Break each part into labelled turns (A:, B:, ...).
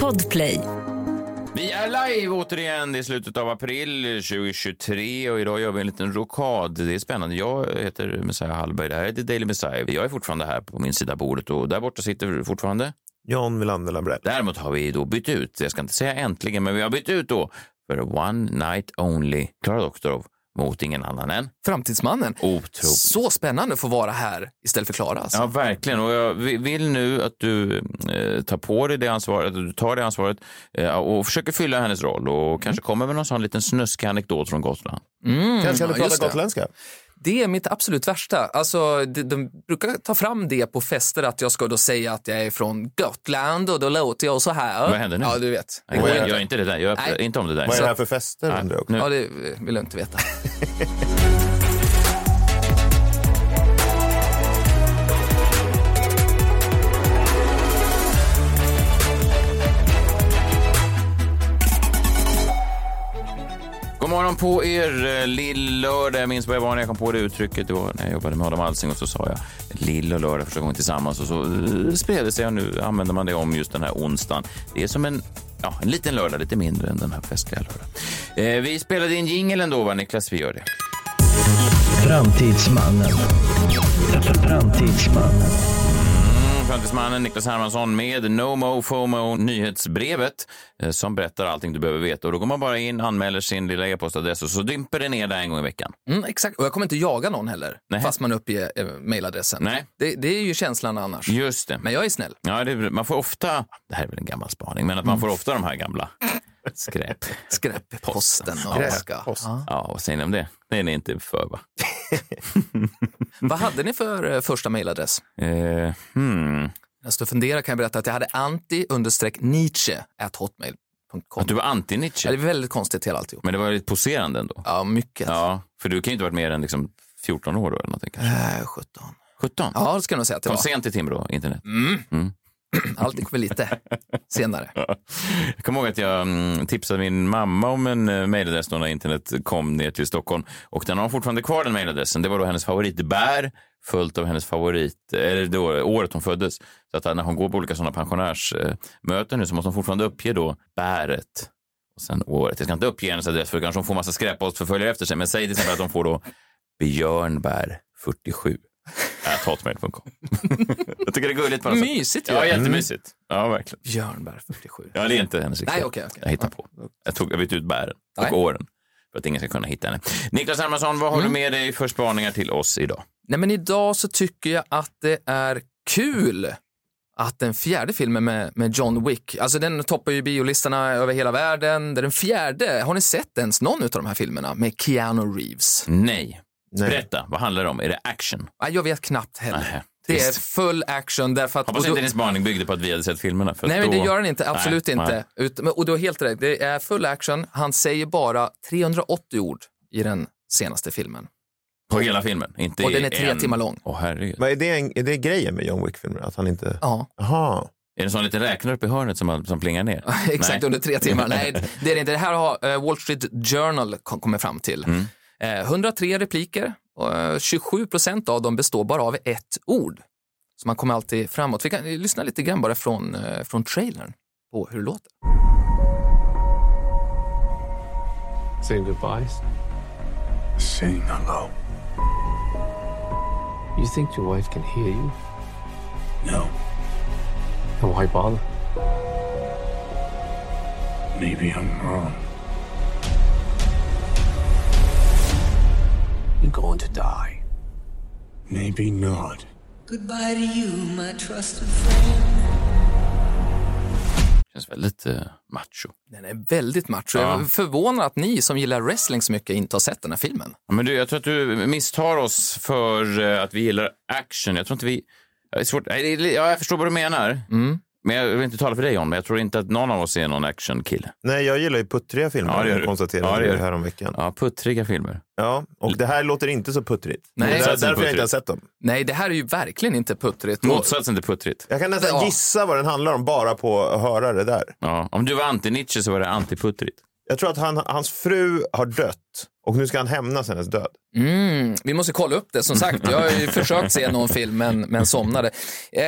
A: Podplay.
B: Vi är live återigen. Det är slutet av april 2023 och idag gör vi en liten rokad. Det är spännande. Jag heter Messiah Hallberg. Det här är The Daily Messiah. Jag är fortfarande här på min sida bordet och där borta sitter fortfarande.
C: Jan Melander Lambrell.
B: Däremot har vi då bytt ut. Jag ska inte säga äntligen, men vi har bytt ut då för One Night Only Klara Doktorov mot ingen annan än
D: Framtidsmannen.
B: otroligt.
D: Så spännande att få vara här istället för Klara. Alltså.
B: Ja, verkligen. Och jag vi- vill nu att du eh, tar på dig det ansvaret, att du tar det ansvaret eh, och försöker fylla hennes roll och kanske kommer med någon sån liten snuskig anekdot från Gotland.
D: Mm,
C: Kanske kan du
D: ja,
C: prata
D: just det.
C: gotländska?
D: Det är mitt absolut värsta. Alltså, de, de brukar ta fram det på fester att jag ska då säga att jag är från Gotland och då låter jag så här.
B: Vad händer nu?
D: Ja, du vet. Det går
B: Jag
D: inte.
B: gör inte det där. Jag
D: Nej.
B: öppnar inte om det där.
C: Vad är
B: Så-
C: det här för fester undrar jag också?
D: Ja, det vill jag inte veta.
B: God morgon på er, eh, lill-lördag. Jag minns vad jag var när jag kom på det uttrycket. Det var när jag jobbade med Adam Alsing och så sa jag lill och lördag första gången tillsammans och så eh, spred det sig och nu använder man det om just den här onsdagen. Det är som en, ja, en liten lördag, lite mindre än den här festliga lördagen. Eh, vi spelade in jingeln då, va Niklas? Vi gör det.
E: Framtidsmannen. Framtidsmannen.
B: Mm, Framtidsmannen Niklas Hermansson med No Mo FOMO nyhetsbrevet eh, som berättar allting du behöver veta. Och då går man bara in, anmäler sin lilla e-postadress och så dimper det ner där en gång i veckan.
D: Mm, exakt. Och jag kommer inte jaga någon heller,
B: Nej.
D: fast man uppger eh, mejladressen.
B: Nej.
D: Det, det är ju känslan annars.
B: Just det.
D: Men jag är snäll.
B: Ja, det, man får ofta, det här är väl en gammal spaning, men att
D: Mm.
B: man får ofta de här gamla skräp.
D: Skräpposten. och
C: Skräppost.
D: ska- Ja.
B: Ja, vad säger ni om det? Det är ni inte för, va?
D: Vad hade ni för eh, första mejladress?
B: Eh, hmm.
D: När jag står och funderar kan jag berätta att jag hade anti-nietzsche at hotmail.com.
B: Att du var
D: Ja, det
B: anti-Nietzsche,
D: är väldigt konstigt hela alltihop.
B: men det var lite poserande ändå.
D: Ja, mycket.
B: Ja, för du kan ju inte ha varit mer än liksom 14 år då, eller någonting kanske.
D: Äh, 17.
B: 17?
D: Ja, det ska jag nog säga att det
B: Kom
D: var.
B: sent till Timrå, internet.
D: Allt gick väl lite senare.
B: Jag kommer ihåg att jag mm, tipsade min mamma om en eh, mejladress då när internet kom ner till Stockholm. Och den har hon fortfarande kvar, den mejladressen. Det var då hennes favoritbär följt av hennes favorit, eh, eller då, året hon föddes. Så att eh, när hon går på olika sådana pensionärsmöten nu så måste hon fortfarande uppge då bäret och sen året. Jag ska inte uppge hennes adress för då kanske hon får massa skräppostförföljare efter sig. Men säg till exempel att hon får då Björnbär Äh, 47. At hotmail.com. Jag tycker det är gulligt på något sätt.
D: Mysigt ju. Mm.
B: Ja, jättemysigt. Ja, verkligen.
D: Björnberg 47.
B: Ja, det är inte hennes riktiga.
D: Nej, okej. okej.
B: Jag hittar på. Jag, tog, jag bytte ut bären och
D: Nej.
B: åren för att ingen ska kunna hitta henne. Niklas Hermansson, vad har du
D: Mm.
B: med dig för spaningar till oss idag?
D: Nej, men idag så tycker jag att det är kul att den fjärde filmen med, med John Wick, alltså den toppar ju biolistorna över hela världen. Det är den fjärde. Har ni sett ens någon av de här filmerna med Keanu Reeves?
B: Nej.
C: Nej.
B: Berätta, vad handlar det om? Är det action?
D: Nej, Jag vet knappt heller.
B: Nej,
D: Det är
B: trist.
D: full action därför att...
B: Hoppas
D: och då-
B: inte din spaning byggde på att vi hade sett filmerna. För
D: Nej,
B: då...
D: men det gör den inte. Absolut
B: Nej,
D: inte.
B: nej.
D: Ut, men- och du har helt rätt. Det är full action. Han säger bara 380 ord i den senaste filmen.
B: På hela filmen? Inte
D: Och
B: i
D: den är tre
B: en...
D: timmar lång.
B: Åh herregud.
C: Vad är, det en, är det grejen med John Wick-filmer? Att han inte...
D: Ja,
C: Jaha.
B: Är det en sån liten räknare uppe i hörnet som, som plingar ner?
D: exakt
B: Nej.
D: under tre timmar. Nej, det är det inte. Det här har eh, Wall Street Journal kom- kommit fram till.
B: Mm.
D: Eh, 103 repliker. och, eh, 27 procent av dem består bara av ett ord. Så man kommer alltid framåt. Vi kan eh, lyssna lite grann bara från, eh, från trailern på hur det låter.
F: Saying goodbyes?
G: Saying hello.
F: You think your wife can hear you?
G: No,
F: Then why bother?
G: maybe I'm wrong.
F: You're going to die.
G: Maybe not.
H: Goodbye to you, my trusted friend.
B: Känns väldigt eh, macho.
D: Den är väldigt macho. Jag är förvånad att ni som gillar wrestling så mycket inte har sett den här filmen.
B: Ja, Men du, jag tror att du misstar oss för eh, att vi gillar action. Jag tror inte vi... Ja, Det är svårt. Nej, det är li- Ja, jag förstår vad du menar.
D: Mm.
B: Men jag vill inte tala för dig, John, men jag tror inte att någon av oss är någon actionkille.
C: Nej, jag gillar ju puttriga filmer.
B: Ja, det gör du.
C: konstaterade
B: Ja, det
C: vi
B: gör du.
C: häromveckan.
B: Ja, puttriga filmer.
C: Ja, och det här låter inte så puttrigt.
D: Nej.
C: det är
B: Motsatsen
C: därför jag
B: puttrigt.
C: inte har sett dem.
D: Nej, det här är ju verkligen inte puttrigt. Och,
B: Motsatsen till puttrigt.
C: Jag kan nästan
D: Ja.
C: gissa vad den handlar om bara på att höra det där.
B: Ja. Om du var anti-Nietzsche så var det anti-puttrigt.
C: Jag tror att han, hans fru har dött Och nu ska han hämnas hennes död.
D: Mm, vi måste kolla upp det, som sagt. Jag har ju försökt se någon film, men, men somnade. Eh,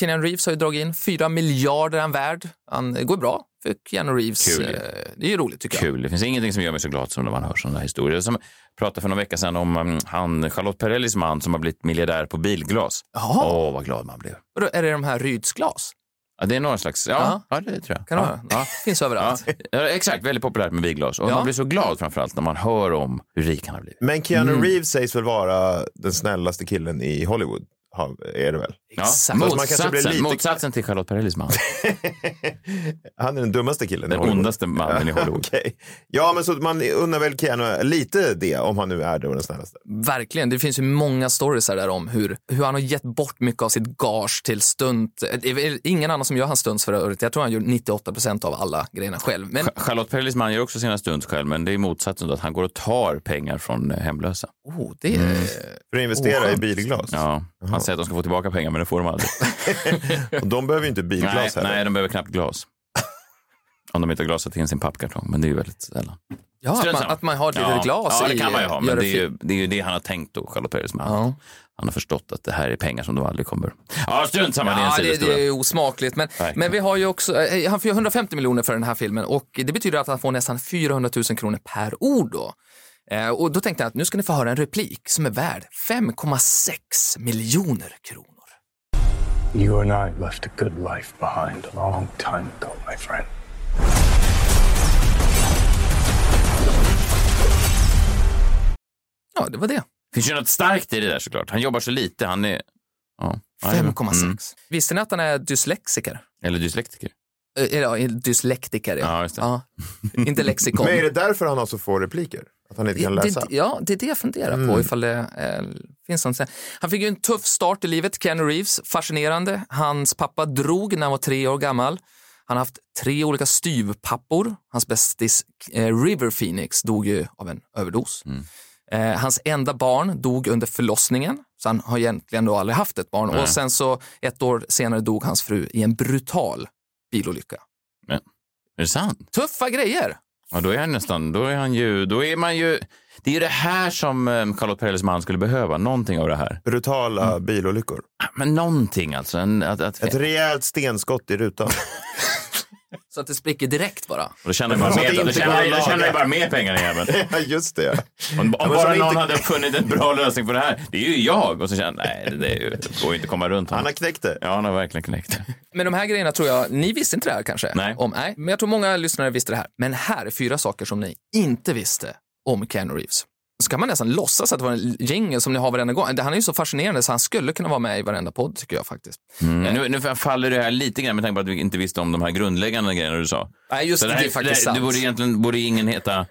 D: Keanu Reeves har ju dragit in 4 miljarder han värd. Han det går bra för Keanu Reeves.
B: Kul.
D: Eh, det är ju roligt, tycker jag.
B: Kul. Det finns ingenting som gör mig så glad som när man hör sådana här historier. Som jag pratade för någon vecka sedan om um, han, Charlotte Perrellis man som har blivit miljardär på bilglas. Åh,
D: Jaha.
B: vad glad man blev.
D: Vadå, är det de här Rydsglas?
B: Ja, det är någon slags... Ja,
D: Ja.
B: ja det tror jag.
D: Kan det
B: ja.
D: vara? Finns
B: Ja,
D: överallt.
B: ja, exakt. Väldigt populärt med bilglas. Och
D: Ja.
B: man blir så glad framförallt när man hör om hur rik han har blivit.
C: Men Keanu
B: Mm.
C: Reeves sägs väl vara den snällaste killen i Hollywood? Ha- Är det väl?
B: Ja,
C: Fast man
D: Exakt.
C: kanske
B: Motsatsen,
C: blir lite-
B: motsatsen till Charlotte Perrellis man.
C: Han är den dummaste killen i
B: Den
C: Hollywood.
B: ondaste mannen i Hollywood.
C: Okej. Ja, men så man undrar väl Keanu lite det, om han nu är då den snällaste.
D: Verkligen. Det finns ju många stories här där om hur, hur han har gett bort mycket av sitt gage till stunt. Eh, Det är väl ingen annan som gör hans stunts för övrigt. Jag tror han gör 98 procent av alla grejerna själv. Men
B: Charlotte Perrellis man gör också sina stunts själv, men det är motsatsen då, att han går och tar pengar från eh, hemlösa.
D: oh, det är...
B: Mm.
C: För att investera i
D: Oskönt.
C: bilglas.
B: Ja, han säger att de ska få tillbaka pengar, men det får de aldrig.
C: Och de behöver ju inte bilglas
B: nej,
C: heller.
B: nej, de behöver knappt glas. Om de inte har glasat in sin pappkartong, men det är ju väldigt sällan.
D: Ja, Ah, att
B: Strunt
D: man,
B: samma.
D: att man har ett litet
B: ja,
D: glas
B: Ja, det
D: i,
B: kan man ju ha,
D: gör
B: men det är ju
D: fi-
B: det, är ju det han har tänkt då, Charlotte Perrellis man.
D: Ja.
B: Han har förstått att det här är pengar som de aldrig kommer... Ja, strunt samma, det är en
D: Ja, det,
B: sidohistoria.
D: det är osmakligt. Men,
B: Verkligen.
D: men vi har ju också, eh, han får ju 150 miljoner för den här filmen och det betyder att han får nästan 400 000 kronor per ord då. Eh, och då tänkte jag att nu ska ni få höra en replik som är värd 5,6 miljoner kronor.
G: You and I left a good life behind a long time ago, my friend.
D: Ja, det var det.
B: finns ju något starkt i det där såklart. Han jobbar så lite, han är... Ja. Ja, det är bra.
D: 5,6.
B: Mm.
D: Visste ni att han är dyslexiker?
B: Eller dyslektiker.
D: Eh, Ja, dyslektiker.
B: Ja, just det.
D: Inte lexikon.
C: Men är det därför han har så få repliker? Att han inte kan läsa? Mm.
D: Det, ja, det är det jag funderar på. Ifall det, eh, finns någon, sån- han fick ju en tuff start i livet, Keanu Reeves. Fascinerande. Hans pappa drog när han var tre år gammal. Han har haft tre olika styvpappor. Hans bästis eh, River Phoenix dog ju av en överdos.
C: Mm.
D: Eh, hans enda barn dog under förlossningen, så han har egentligen då aldrig haft ett barn. Och sen så ett år senare dog hans fru i en brutal bilolycka.
B: Är det sant?
D: Tuffa grejer!
B: Ja, då är han nästan... Då är han ju... Då är man ju... Det är ju det här som eh, Charlotte Perrellis man skulle behöva. Någonting av det här.
C: Brutala bilolyckor.
B: Ja, Men någonting alltså. En, att, att,
C: Ett rejält stenskott i rutan.
D: Så att det spricker direkt bara.
B: och då tjänar jag bara
C: Fast det
B: mer, då
C: inte går
B: tjänar,
C: att
B: jag- då tjänar jag
C: laga.
B: bara mer pengar än jäveln.
C: ja, just det.
B: Om, om
C: men som
B: bara någon
C: inte-
B: hade funnit en bra lösning på det här. Det är ju jag. Och så känner jag, nej, det, det är ju- det går ju inte att komma runt
C: Han
B: honom.
C: har knäckt det.
B: Ja, han har verkligen knäckt.
D: Men de här grejerna tror jag, ni visste inte det här kanske?
B: Nej.
D: Om, nej. Men jag tror många lyssnare visste det här. Men här är fyra saker som ni inte visste om Keanu Reeves. Så kan man nästan låtsas att det var en jingel som ni har varenda gång. Det- Han är ju så fascinerande så han skulle kunna vara med i varenda podd tycker jag faktiskt.
B: Mm. Nu, nu faller det här lite grann med tanke på att vi inte visste om de här grundläggande grejerna du sa.
D: Nej, just
B: Så
D: det,
B: här-
D: är faktiskt
B: det,
D: sant.
B: det borde egentligen borde ingen heta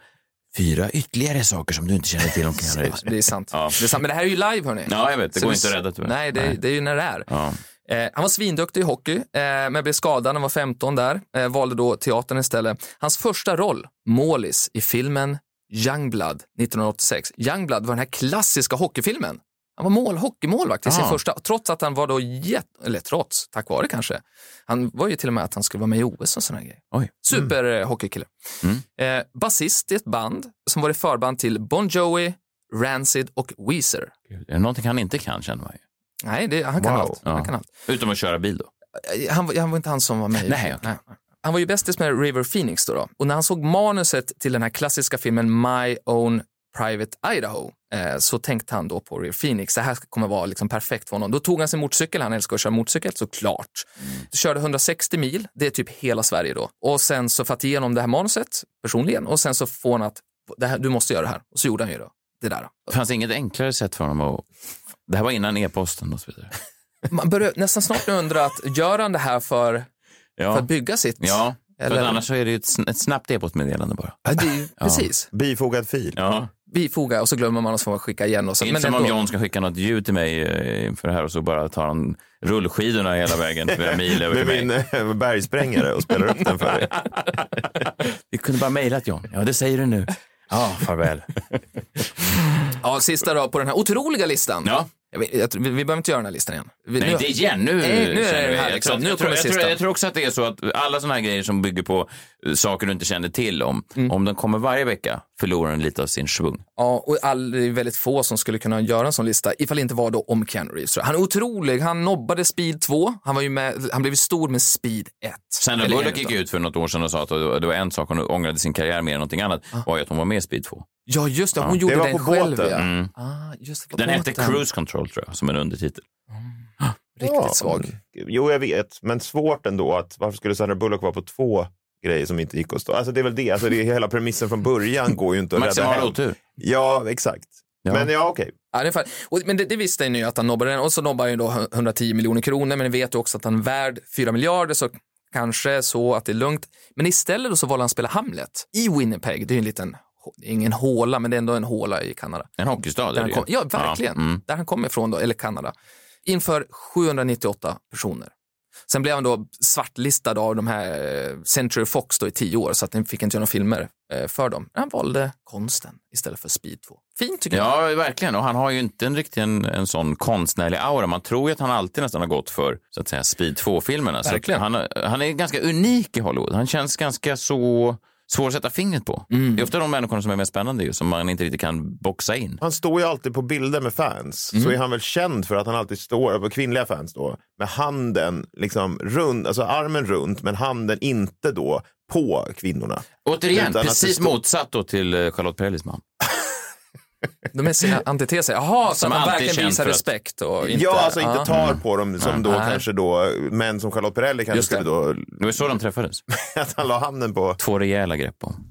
B: fyra ytterligare saker som du inte känner till om Keanu Reeves.
D: Det är sant.
B: Ja.
D: Det är sant. Men det här är ju live hörni.
B: Ja, jag vet. Det
D: Så
B: går
D: vi-
B: inte att rädda tyvärr.
D: Nej, det, det är ju när det är.
B: Ja.
D: Eh, han var svinduktig i hockey, eh, men blev skadad när han var 15 där. Eh, valde då teatern istället. Hans första roll, Målis, i filmen Youngblood 1986. Youngblood var den här klassiska hockeyfilmen. Han var mål, hockeymålvakt i sin
B: Ah.
D: första, trots att han var då jätte, eller trots, tack vare kanske. Han var ju till och med att han skulle vara med i OS och sådana grejer.
B: Oj. Mm.
D: Superhockeykille. Eh, Basist i ett band som var i förband till Bon Jovi, Rancid och Weezer.
B: Gud, Är det någonting han inte kan, känner man ju.
D: Nej, det, han, kan
C: Wow.
D: allt. han
B: Ja.
D: kan allt.
B: Utom att köra bil då.
D: han, var- han var inte han som var med. i-
B: Nej, okej.
D: Han var ju bästis med River Phoenix då, då. Och när han såg manuset till den här klassiska filmen My Own Private Idaho eh, så tänkte han då på River Phoenix. Det här kommer vara liksom perfekt för honom. Då tog han sin motorcykel, han älskar att köra motorcykel såklart.
B: Mm.
D: Körde 160 mil, det är typ hela Sverige då. Och sen så fatt igenom det här manuset personligen och sen så får han att det här, du måste göra det här. Och så gjorde han ju då det där.
B: Det fanns inget enklare sätt för honom att... Det här var innan e-posten och så vidare.
D: Man börjar nästan snart undra att gör han det här för, för
B: Ja,
D: att bygga sitt?
B: ja. För
D: Eller-
B: att annars så är det ju ett, sn- ett snabbt e-postmeddelande bara.
D: Ja, det är ju, Precis.
C: Bifogad fil.
B: Ja.
D: bifoga och så glömmer man och så får man skicka igen. Och så.
B: Det är inte
D: Men
B: som om
D: ändå.
B: John ska skicka något ljud till mig eh, inför det här och så bara tar han rullskidorna hela vägen flera mil över
C: Med
B: till mig.
C: min eh, bergsprängare och spelar upp den för dig.
B: Vi kunde bara mejlat John. Ja, det säger du nu. Ja, farväl.
D: Ja, sista då på den här otroliga listan.
B: Ja.
D: Jag vet- jag tror- vi, vi behöver inte göra den här listan igen. Vi,
B: Nej,
D: nu-
B: inte igen. Nu,
D: Nej, nu är
B: känner
D: det
B: vi-
D: här
B: jag
D: liksom.
B: tror att-
D: Nu
B: jag, tror,
D: kommer
B: jag, tror,
D: sista.
B: jag tror också att det är så att alla sådana här grejer som bygger på eh, saker du inte känner till om,
D: Mm.
B: om de kommer varje vecka förlorar den lite av sin svung.
D: Ja, och all, det är väldigt få som skulle kunna göra en sån lista, ifall det inte var då om Keanu Reeves. tror jag. Han är otrolig, han nobbade Speed 2, han, var ju med, han blev ju stor med Speed 1.
B: Sandra
D: Eller
B: Bullock
D: en
B: gick
D: utav-
B: ut för något år sedan och sa att det var en sak hon ångrade sin karriär mer än någonting annat, var ju att hon var med i Speed 2.
D: Ja, just det, hon gjorde
C: det var
D: den
C: på
D: själv.
C: båten.
D: Ah. Ja.
B: Mm.
D: Ah, just det, på
B: Den hette
D: båten.
B: Cruise Control, tror jag, som en undertitel.
D: Riktigt svag.
C: Jo, jag vet. Men svårt ändå. att Varför skulle Sandra Bullock vara på två grejer som inte gick att stå? Alltså, det är väl det. Alltså, det är hela premissen från början går ju inte att rädda
B: Maximal
C: hem.
B: otur.
C: Ja, exakt.
B: Ja.
C: Men ja, okej.
D: Ja, det är fan- och, men det, det visste han ju att han nobbade den och så nobbar han ju då 110 miljoner kronor men vet ju också att han är värd 4 miljarder så kanske så att det är lugnt. Men istället då så valde han att spela Hamlet i Winnipeg. Det är ju en liten, ingen håla men det är ändå en håla i Kanada.
B: En hockeystad
D: Där
B: är det
D: han
B: ju.
D: kom, ja, verkligen.
B: Ja, mm.
D: Där han kommer ifrån, då, eller Kanada. Inför 798 personer. Sen blev han då svartlistad av de här eh, Century Fox då i tio år, så att den fick inte göra några filmer eh, för dem. Han valde konsten istället för Speed 2. Fint tycker jag.
B: Ja, verkligen. Och han har ju inte en, riktigt en, en sån konstnärlig aura. Man tror ju att han alltid nästan har gått för så att säga Speed 2-filmerna. Så
D: Verkligen.
B: att han, han är ganska unik i Hollywood. Han känns ganska så svår att sätta fingret på. Det är ofta de människorna som är mest spännande ju, som man inte riktigt kan boxa in.
C: Han står ju alltid på bilder med fans. Så är han väl känd för att han alltid står, på kvinnliga fans då, med handen liksom runt, alltså armen runt, men handen inte då på kvinnorna. Utan
B: Återigen,
C: att det
B: precis
C: står-
B: motsatt då till eh, Charlotte Perrellis man.
D: De är sina antiteser. Jaha, så
B: Som
D: att han
B: alltid
D: verkligen
B: känd
D: visar
B: för att-
D: respekt och inte...
C: ja, alltså
D: Ah.
C: inte Ah, tar på dem som då kanske då män som Charlotte Perrelli kanske
D: Just det.
C: skulle då,
B: Det var så de träffades.
C: att han la handen på.
B: Två rejäla grepp om.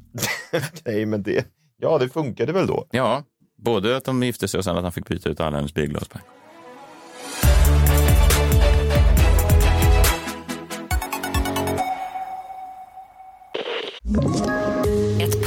C: Nej, men det, ja det funkade väl då.
B: Ja, både att de gifte sig och sen att han fick byta ut alla hennes bilglasberg.
A: Ett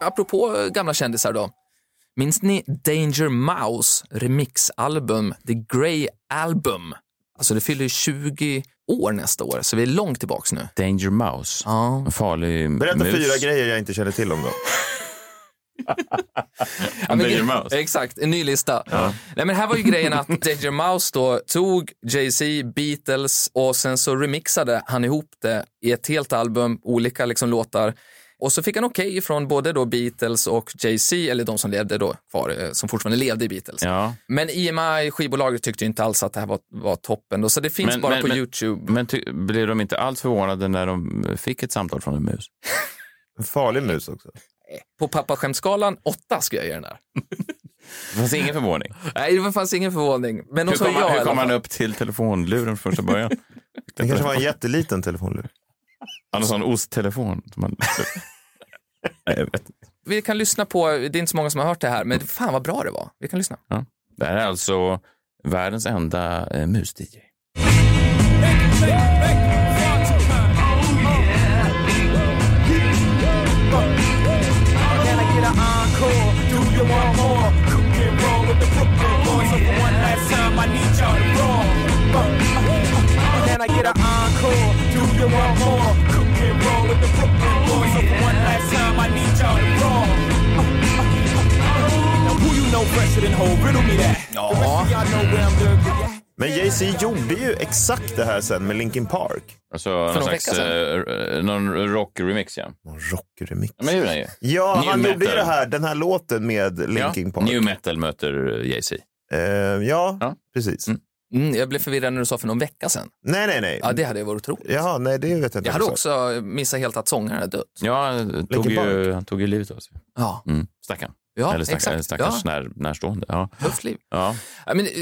D: Apropå eh, gamla kändisar då. Minns ni Danger Mouse remixalbum The Grey Album? Alltså det fyller 20 år nästa år, så vi är långt tillbaks nu.
B: Danger Mouse.
D: Ja.
B: En farlig
C: Berätta
B: mus.
C: fyra grejer jag inte känner till om dem.
B: Om
D: men-
B: Danger Mouse.
D: Exakt, en ny lista. Nej, men här var ju grejen att Danger Mouse då tog Jay-Z, Beatles och sen så remixade han ihop det i ett helt album, olika liksom låtar. Och så fick han okej från både då Beatles och Jay-Z, eller de som levde då kvar, eh, som fortfarande levde i Beatles.
B: Ja.
D: Men EMI, skivbolaget, tyckte ju inte alls att det här var, var toppen. Då, så det finns
B: Men-
D: bara
B: men-
D: på
B: men-
D: YouTube.
B: Men ty- blev de inte alls förvånade när de fick ett samtal från en mus?
C: En farlig mus också.
D: På pappaskämtskalan 8 ska jag ge den där.
B: Det fanns ingen förvåning.
D: Nej, det fanns ingen förvåning. Men de
B: Hur
D: sa
B: kom,
D: ja.
B: han,
D: i
B: hur
D: alla
B: kom
D: fall.
B: han upp till telefonluren från första början?
C: Det kanske var en jätteliten telefonlur.
B: Han har en sån osttelefon. som han- Nej, jag vet inte.
D: Vi kan lyssna på, det är inte så många som har hört det här, men fan vad bra det var. Vi kan lyssna.
B: Det här är alltså världens enda eh, mus-DJ.
C: Men Jay-Z gjorde ju exakt det här sen med Linkin Park.
B: Alltså, någon,
D: någon
B: slags,
D: vecka sedan.
B: eh, r- någon rock-remix, ja.
C: Någon rockremix.
B: Ja, Men det gjorde han ju.
C: Ja,
B: New
C: han gjorde ju
B: metal.
C: det här, den här låten med Linkin
B: ja.
C: Park.
B: New metal möter eh, Jay-Z.
C: Eh, ja,
B: Ja.
C: precis.
D: Mm, jag blev förvirrad när du sa för någon vecka sedan.
C: Nej, nej, nej.
D: Ja, det hade ju varit otroligt.
C: Jaha, nej, det vet jag inte.
D: Jag hade
C: också.
D: också missat helt att sångaren hade dött.
B: Ja, han tog
C: Linkin
B: ju, han tog ju livet av sig.
D: Ja,
B: Mm. Stackarn.
D: ja
B: Eller stack,
D: exakt.
B: stackars
D: ja,
B: när, närstående. Ja.
D: tufft liv.
B: Ja.
D: Ja, men, eh,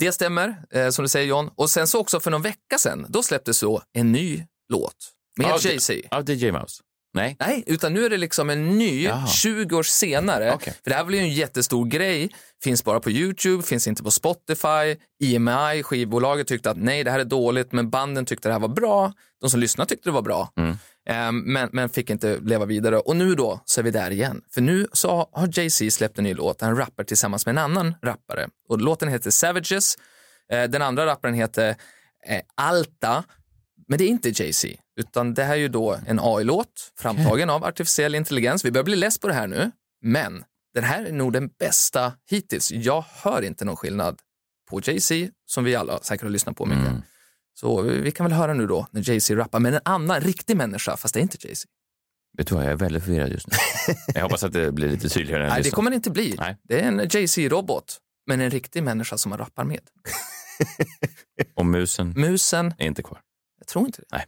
D: det stämmer, eh, som du säger John. Och sen så också för någon vecka sedan, då släpptes så en ny låt med
B: Ja,
D: Jay-Z.
B: Ja, DJ Mouse. Nej.
D: Nej, utan nu är det liksom en ny,
B: Jaha.
D: 20 år senare.
B: Okej.
D: För det här blev ju en jättestor grej. Finns bara på YouTube, finns inte på Spotify. EMI, skivbolaget, tyckte att nej, det här är dåligt, men banden tyckte det här var bra. De som lyssnade tyckte det var bra,
B: Mm.
D: Ehm, men, men fick inte leva vidare. Och nu då så är vi där igen. För nu så har Jay-Z släppt en ny låt där han rappar tillsammans med en annan rappare. Och låten heter Savages. Eh, Den andra rapparen heter eh, Alta. Men det är inte Jay-Z, utan det här är ju då en AI-låt framtagen av artificiell intelligens. Vi börjar bli less på det här nu, men den här är nog den bästa hittills. Jag hör inte någon skillnad på Jay-Z, som vi alla säkert har lyssnat på mycket. Så vi vi kan väl höra nu då när Jay-Z rappar med en annan riktig människa, fast det är inte Jay-Z.
B: Vet du vad, jag är väldigt förvirrad just nu. jag hoppas att det blir lite tydligare. än
D: Nej, det
B: lyssnaren.
D: kommer det inte bli.
B: Nej.
D: Det är en Jay-Z-robot, men en riktig människa som man rappar med.
B: Och musen
D: Musen,
B: är inte kvar.
D: jag tror inte det.
B: Nej.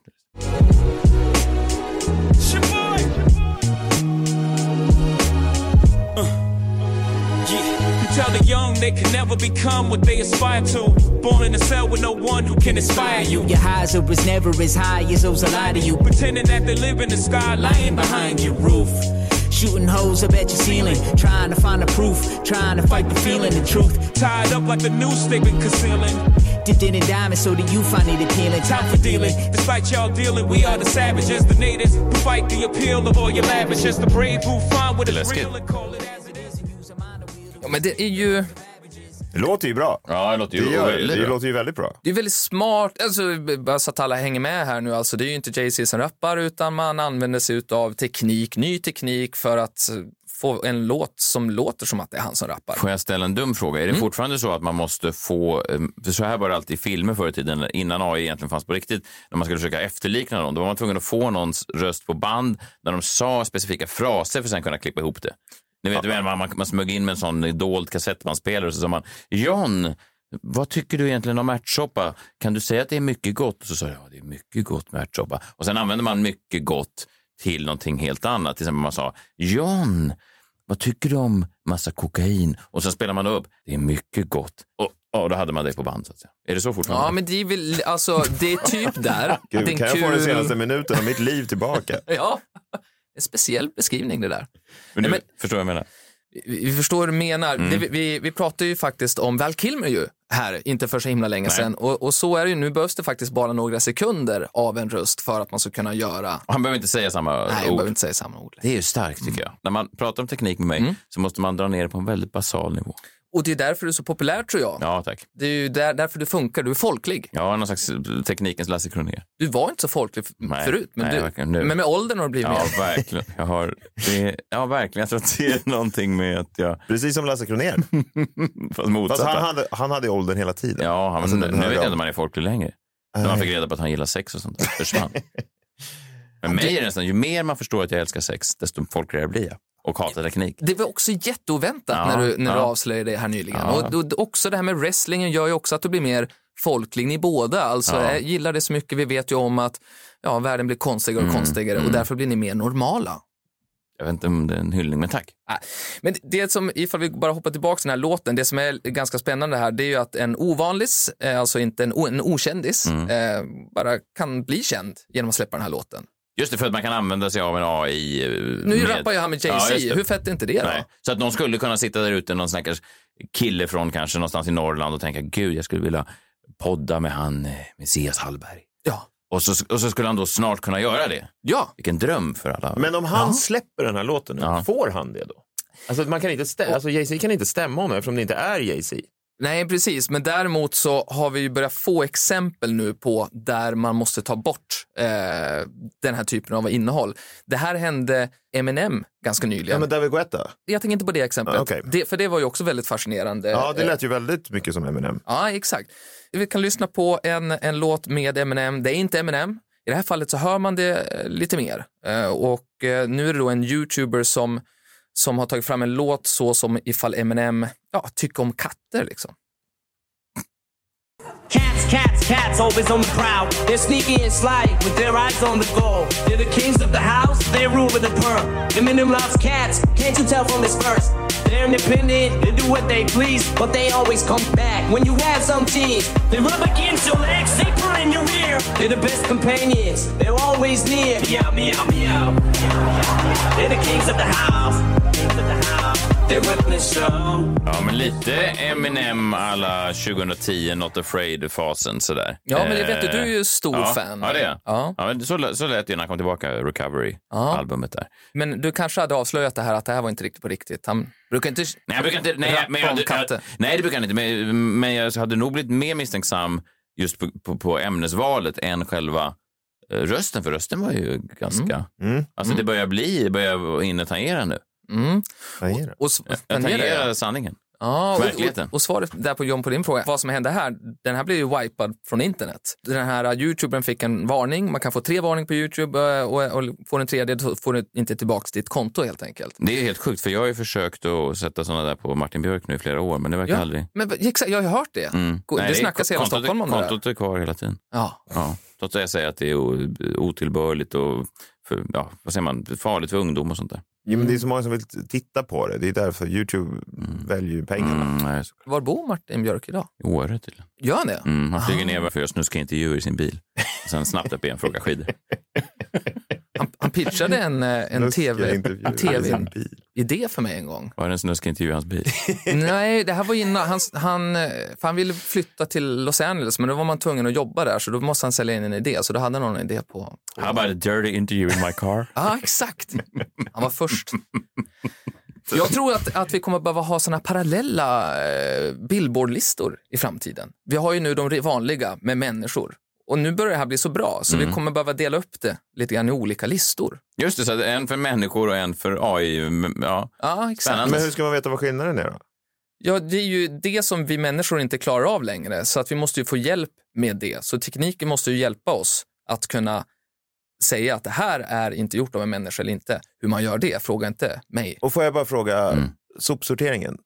I: You tell the young they can never become what they aspire to. Born in a cell with no one who can inspire you.
F: Your highs are as never as high as those that lie to you.
I: Pretending that they live in the sky, lying behind your roof.
F: Shooting holes up at your ceiling, trying to find the proof, trying to fight the feeling, the truth.
I: Tied up like the news they've been concealing.
F: Dipped in a diamond so that you find it appealing.
I: Time for dealing. Despite y'all dealing, we are the savages, the natives who fight the appeal of all your lavishes. The brave who find what is
B: Let's get-
I: real and call it as it is. And use a mind to wield
D: Ja, men det är ju...
C: Det låter ju bra.
B: Ja, det låter
C: Det,
B: ju
C: gör,
B: väldigt
C: det
B: bra.
C: låter ju väldigt bra.
D: Det är väldigt smart, alltså, bara så att alla hänger med här nu, alltså, det är ju inte Jay-Z som rappar utan man använder sig av teknik, ny teknik för att eh, få en låt som låter som att det är han som rappar.
B: Får jag ställa en dum fråga? Är det
C: Mm.
B: fortfarande så att man måste få... eh, För så här var det alltid i filmer förr i tiden, innan AI egentligen fanns på riktigt, när man skulle försöka efterlikna någon. Då var man tvungen att få någons röst på band när de sa specifika fraser för att sen kunna klippa ihop det. Ni vet, ja. man, man, man smög in med en sån dold kassettbandspelare och så sa man John, vad tycker du egentligen om ärtsoppa? Kan du säga att det är mycket gott? Och så sa jag, ja, det är mycket gott med ärtsoppa. Och sen använde man mycket gott till någonting helt annat. Till exempel man sa, John, vad tycker du om massa kokain? Och sen spelar man upp, det är mycket gott. Och ja, då hade man det på band. Så att säga. Är det så fortfarande?
D: Ja, men det är väl, alltså, det är typ där.
C: Gud,
D: Att det är en
C: kan jag få den
D: kul-
C: senaste minuten av mitt liv tillbaka?
D: Ja, en speciell beskrivning det där.
B: men, du,
D: Nej,
B: Förstår vad jag menar?
D: Vi vi förstår vad du menar.
C: Mm.
D: Det, vi- vi, vi pratade ju faktiskt om Val Kilmer ju här, inte för så himla länge sedan. Och, och så är det ju, nu behövs det faktiskt bara några sekunder av en röst för att man ska kunna göra,
B: Och Han behöver inte säga samma
D: nej, jag
C: Oh.
B: ord.
D: behöver inte Mm. säga samma ord.
B: Det är ju starkt tycker jag. När man pratar om teknik med mig så måste man dra ner det på en väldigt basal nivå.
D: Och det är därför du är så populär tror jag.
B: Ja, tack.
D: Det är ju där, därför du funkar, du är folklig.
B: Ja, någon slags eh, teknikens Lasse Kronér.
D: Du var inte så folklig f-
B: Nej,
D: förut, men,
B: nej,
D: du,
B: verkligen, nu.
D: men med åldern har du blivit
B: Ja,
D: mer.
B: verkligen. Jag har, det, ja, verkligen. Jag tror att det är någonting med att jag...
C: Precis som Lasse Kronér.
B: Fast
C: Fast
B: motsatta.
C: han hade, han hade ju åldern hela tiden.
B: Ja, han,
C: Alltså,
B: nu
C: den
B: nu
C: här
B: vet jag inte
C: raden.
B: om han är folklig längre. När man
C: Nej.
B: fick reda på att han gillar sex och sånt där. Försvann. Men mig är det nästan, ju mer man förstår att jag älskar sex, desto folkligare blir jag. Och hatar teknik.
D: Det var också jätteoväntat
B: Ja,
D: när, du, när du
B: ja.
D: avslöjade det här nyligen.
B: Ja.
D: Och, och också det här med wrestlingen gör ju också att du blir mer folklig, ni båda. Alltså,
B: Ja.
D: Jag gillar det så mycket, vi vet ju om att ja, världen blir konstigare
B: Mm,
D: och konstigare och därför blir ni mer normala.
B: Jag vet inte om det är en hyllning, men tack.
D: Nej. Äh, Men det som, ifall vi bara hoppar tillbaka till den här låten, det som är ganska spännande här, det är ju att en ovanlis, eh, alltså inte en, o- en okändis,
C: Mm.
D: eh, bara kan bli känd genom att släppa den här låten.
B: Just det, för att man kan använda sig av en AI. eh,
D: Nu
B: med-
D: rappar jag här med
B: Ja,
D: Jay-Z,
B: just det.
D: hur fett är inte det då?
B: Nej. Så att någon skulle kunna sitta där ute, någon stackars kille från kanske någonstans i Norrland och tänka, gud, jag skulle vilja podda med han eh, Messias Hallberg.
D: Ja.
B: Och så, och så skulle han då snart kunna göra det.
D: ja.
B: Vilken dröm för alla.
C: Men om han släpper den här låten nu,
B: Ja.
C: får han det då? Alltså, man kan inte stä- alltså Jay-Z kan inte stämma honom eftersom det inte är Jay-Z.
D: Nej, precis. Men däremot så har vi ju börjat få exempel nu på där man måste ta bort eh, den här typen av innehåll. Det här hände Eminem ganska nyligen.
C: Ja, men David Guetta.
D: Jag tänker inte på det exemplet,
C: Ah, okej.
D: det, för det var ju också väldigt fascinerande.
C: Ja, det
D: Eh,
C: lät ju väldigt mycket som Eminem.
D: Ja, exakt. Vi kan lyssna på en, en låt med Eminem. Det är inte Eminem. I det här fallet så hör man det eh, lite mer. Eh, Och eh, nu är det då en youtuber som, som har tagit fram en låt så som ifall Eminem ja, tycker om katter. Liksom.
I: Cats, cats, cats, always on the prowl. They're sneaky and sly with their eyes on the goal. They're the kings of the house, they rule with a pearl. The minimum loves cats, can't you tell from his verse? They
J: They're independent, they do what they please, but they always come back when you have some tease. They rub against your legs, they put in your ear. They're the best companions, they're always near. Meow, meow, meow. They're the kings of the house. Kings of the house. They're running the show.
B: Ja, men lite Eminem alla 2010 Not Afraid-fasen sådär.
D: Ja, men det vet du,
B: Eh,
D: du är ju stor
B: ja,
D: fan.
B: Ja, det är jag.
D: Ja.
B: Ja, men så, lä- så lät det när han kom tillbaka, Recovery-albumet där.
D: Men du kanske hade avslöjat det här att det här var inte riktigt på riktigt. Han brukar inte...
B: Nej, jag brukar inte, nej, jag- men jag, jag, nej det brukar han inte. Men, men jag hade nog blivit mer misstänksam just på, på, på ämnesvalet än själva eh, rösten, för rösten var ju ganska... Alltså det börjar bli, det börjar hinna tangera nu.
D: Mm.
C: Tangera?
D: Och, och,
B: Jag
D: tangerar
B: tangerar
D: jag.
B: sanningen.
D: Ja, och,
B: Verkligheten.
D: och, och svaret där på John på din fråga, vad som hände här, den här blev ju wipad från internet. Den här eh, youtubern fick en varning, man kan få tre varning på youtube eh, och, och får en tredje så får du inte tillbaka ditt konto helt enkelt.
B: Det är helt sjukt, för jag har ju försökt att sätta såna där på Martin Björk nu i flera år, men det verkar
D: Ja,
B: aldrig...
D: Men v- exakt, jag har ju hört det.
B: Mm.
D: Go-
B: Nej,
D: det
B: är-
D: snackas hela
B: kontot-
D: Stockholm om det där.
B: Kontot är kvar hela tiden.
D: Ja.
B: Ja. Trots att jag säger att det är o- otillbörligt och för, ja, vad säger man, farligt för ungdom och sånt där.
C: Jo, men det är så många som vill t- titta på det. Det är därför Youtube
B: Mm.
C: väljer ju pengarna.
B: nej,
D: Var bor Martin Björk idag?
B: I Åre tydligen.
D: Gör han det?
B: Mm, han flyger
D: Ah.
B: ner för att snuska intervjuer i sin bil. Och sen snabbt upp igen fråga skidor.
D: Han pitchade en, eh, en
B: Lustiga
D: tv-idé
B: intervjuer
D: en
B: i
C: Alltså,
B: sin
D: TV idé för mig en gång.
B: Var det en snuskintervju i hans bil?
D: Nej, det här var innan. Han, han, eh, för han ville flytta till Los Angeles, men då var man tvungen att jobba där, så då måste han sälja in en idé. Så då hade han någon idé på...
B: How about a dirty interview in my car?
D: Ja, exakt. Han var först. Jag tror att, att vi kommer behöva ha såna parallella eh, billboardlistor i framtiden. Vi har ju nu de vanliga med människor. Och nu börjar det här bli så bra, så vi
B: Mm.
D: kommer behöva dela upp det lite grann i olika listor.
B: Just det, så att en för människor och en för AI. m- Ja.
D: Ja, exakt.
B: Spännande.
C: Men hur ska man veta vad skillnaden är då?
D: Ja, det är ju det som vi människor inte klarar av längre, så att vi måste ju få hjälp med det. Så tekniken måste ju hjälpa oss att kunna säga att det här är inte gjort av en människa eller inte. Hur man gör det, fråga inte mig.
C: Och får jag bara fråga, sopsorteringen?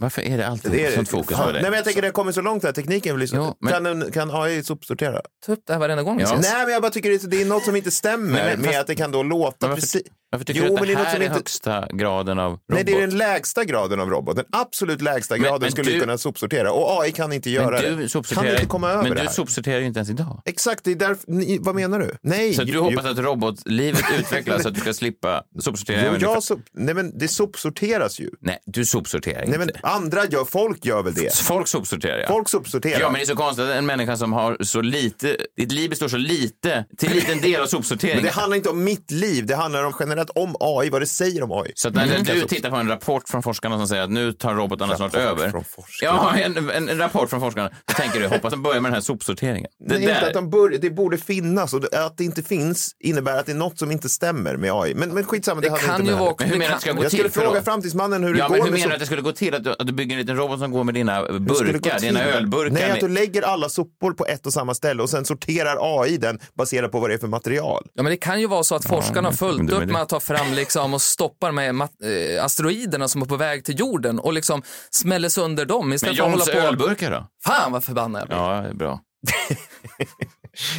B: Varför är Mm. det alltid
C: Det är
B: sånt fokus
C: Fan,
B: på det?
C: Nej, men jag tänker det har kommit så långt där tekniken blir så. kan, en, kan AI sopsortera?
D: Ta upp det här varenda gång vi ses.
C: Nej, men jag bara tycker det är, det är något som inte stämmer
B: Nej,
C: med
B: fast-
C: att det kan då låta
B: Men varför,
C: precis.
B: varför tycker
C: Jo,
B: du att
C: men
B: det
C: det är något
B: här
C: som
B: är
C: inte-
B: högsta graden av robot?
C: Nej, det är den lägsta graden av robot. Den absolut lägsta
B: Men-
C: graden
B: men
C: skulle
B: du-
C: kunna sopsortera och AI kan inte göra
B: men du
C: det.
B: sopsorterar,
C: Kan inte komma över
B: men
C: det
B: du
C: här.
B: sopsorterar ju inte ens idag.
C: Exakt, det är därför, ni, vad menar du? Nej,
B: Så att du
C: ju-
B: hoppas att robotlivet utvecklas så att du ska slippa sopsortera?
C: Jo,
B: även
C: jag
B: ifall-
C: sop, nej men det sopsorteras ju.
B: Nej, du sopsorterar inte.
C: Nej men andra gör, folk gör väl det.
B: Folk sopsorterar, ja.
C: Folk sopsorterar.
B: Ja, men det är så konstigt att en människa som har så lite, ditt liv består så lite, till liten del av sopsortering.
C: Men det handlar inte om mitt liv, det handlar om generellt om AI, vad det säger om AI.
B: Så att när du tittar på en rapport från forskarna som säger att nu tar robotarna snart
C: Rapport
B: över.
C: från
B: ja, en, en, en rapport från forskarna. Då tänker du, hoppas de börjar med den här sopsorteringen. Det
C: Det, Nej, inte
B: där.
C: att de bör, det borde finnas och det- att det inte finns innebär att det är något som inte stämmer med AI. Men, men skitsamma, det,
D: Det
C: hade
D: kan
C: inte
D: ju
C: med
D: vara-
C: det.
B: Men hur menar du att det ska gå
C: Jag
B: till?
C: skulle fråga
B: Förlåt.
C: framtidsmannen hur det
B: ja,
C: går
B: men hur
C: med
B: menar du
C: sop-
B: att det skulle gå till? Att du, att du bygger en liten robot som går med dina
C: Hur skulle det gå
B: burkar,
C: till?
B: dina ölburkar?
C: Nej, att du lägger alla sopor på ett och samma ställe och sen sorterar AI den baserat på vad det är för material.
D: Ja, men det kan ju vara så att forskarna har
B: men
D: följt
B: det-
D: upp med att ta fram liksom, och stoppar med mat- eh, asteroiderna som är på väg till jorden och liksom smäller sönder dem
B: Men
D: istället för att
B: Johns
D: hålla på.
B: ölburkar då?
D: Fan vad förbannad jag blir.
B: Ja, det är bra.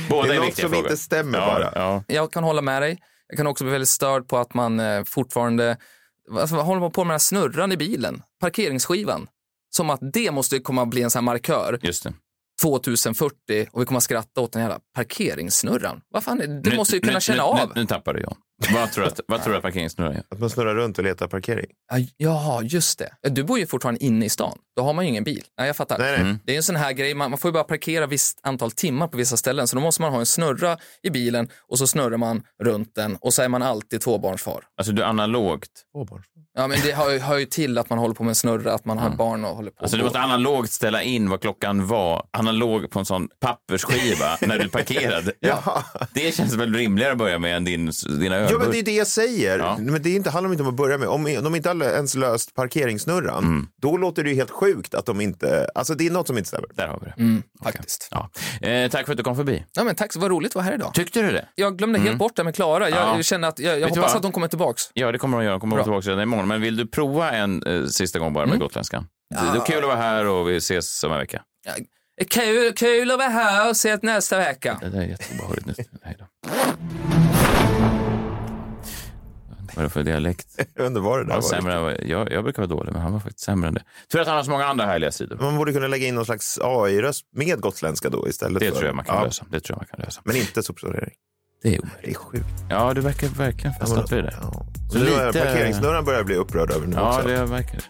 B: Båda
C: det
B: är
C: är något
B: viktiga
C: som
B: frågor.
C: inte stämmer
B: ja,
C: bara.
B: Ja.
D: Jag kan hålla med dig. Jag kan också bli väldigt störd på att man eh, fortfarande alltså, vad håller man på med den här snurran i bilen, parkeringsskivan. Som att det måste komma att bli en sån här markör
B: Just det.
D: 2040 och vi kommer att skratta åt den jävla parkeringssnurran. Vad fan, är, du
B: Nu-
D: måste ju
B: nu-
D: kunna känna
B: nu,
D: av.
B: Nu, nu tappar du John. Vad tror du att, vad tror du att parkeringssnurran gör?
C: Att man snurrar runt och letar parkering.
D: Ja, Jaha, just det. Ja, Du bor ju fortfarande inne i stan. Då har man ju ingen bil. Nej, jag fattar.
C: Nej, nej.
B: Mm.
D: Det är ju en sån här grej, man, man får ju bara parkera visst antal timmar på vissa ställen. Så då måste man ha en snurra i bilen och så snurrar man runt den och så är man alltid tvåbarnsfar.
B: Alltså, du analogt.
D: Ja, men det hör, ju- hör ju till att man håller på med en snurra, att man har barn och håller på.
B: Alltså, du måste analogt ställa in vad klockan var, analog på en sån pappersskiva när du parkerade.
C: Ja.
B: Det känns väl rimligare att börja med än din, dina
C: Ja, men
B: ölburkar?
C: det är det jag säger.
B: Ja.
C: Men det är inte, handlar inte om att börja med. Om de inte har ens löst parkeringssnurran,
B: Mm.
C: då låter det ju helt sjukt att de inte... Alltså det är något som inte stämmer.
B: Där har vi det.
D: Mm, faktiskt.
B: Ja. Eh, tack för att du kom förbi.
D: Ja, men tack, så- vad roligt att vara här idag.
B: Tyckte du det?
D: Jag glömde helt bort det med Klara. Jag
B: Mm. Ja.
D: känner att jag, jag
B: Vet du
D: hoppas
B: vad?
D: att hon kommer tillbaks.
B: Ja, det kommer de göra. De kommer
D: Bra. Mm.
B: tillbaka redan imorgon. Men vill du prova en eh, sista gång bara med gotländskan? Det, det är kul att vara här och vi ses om en vecka.
D: Kul, kul att vara här och ses nästa vecka.
B: Det där är jätteobehörigt nu. Hej då. Vad är det för dialekt?
C: Jag undrar vad det där
B: var.
C: var.
B: Sämre, än vad- jag, jag brukar vara dålig, men han var faktiskt sämre än det. Tur att han har så många andra härliga sidor.
C: Man borde kunna lägga in någon slags AI-röst med gotländska då istället.
B: Det
C: för-
B: tror jag man kan
C: Ja.
B: lösa. Det tror jag man kan lösa.
C: Men inte sopsortering.
B: Det är omöjligt.
C: Det är sjukt.
B: Ja, du verkar verkligen fastnat vid det.
C: Så nu är parkeringsnurran börjar jag bli upprörd över nu
B: Ja,
C: också.
B: det verkar det.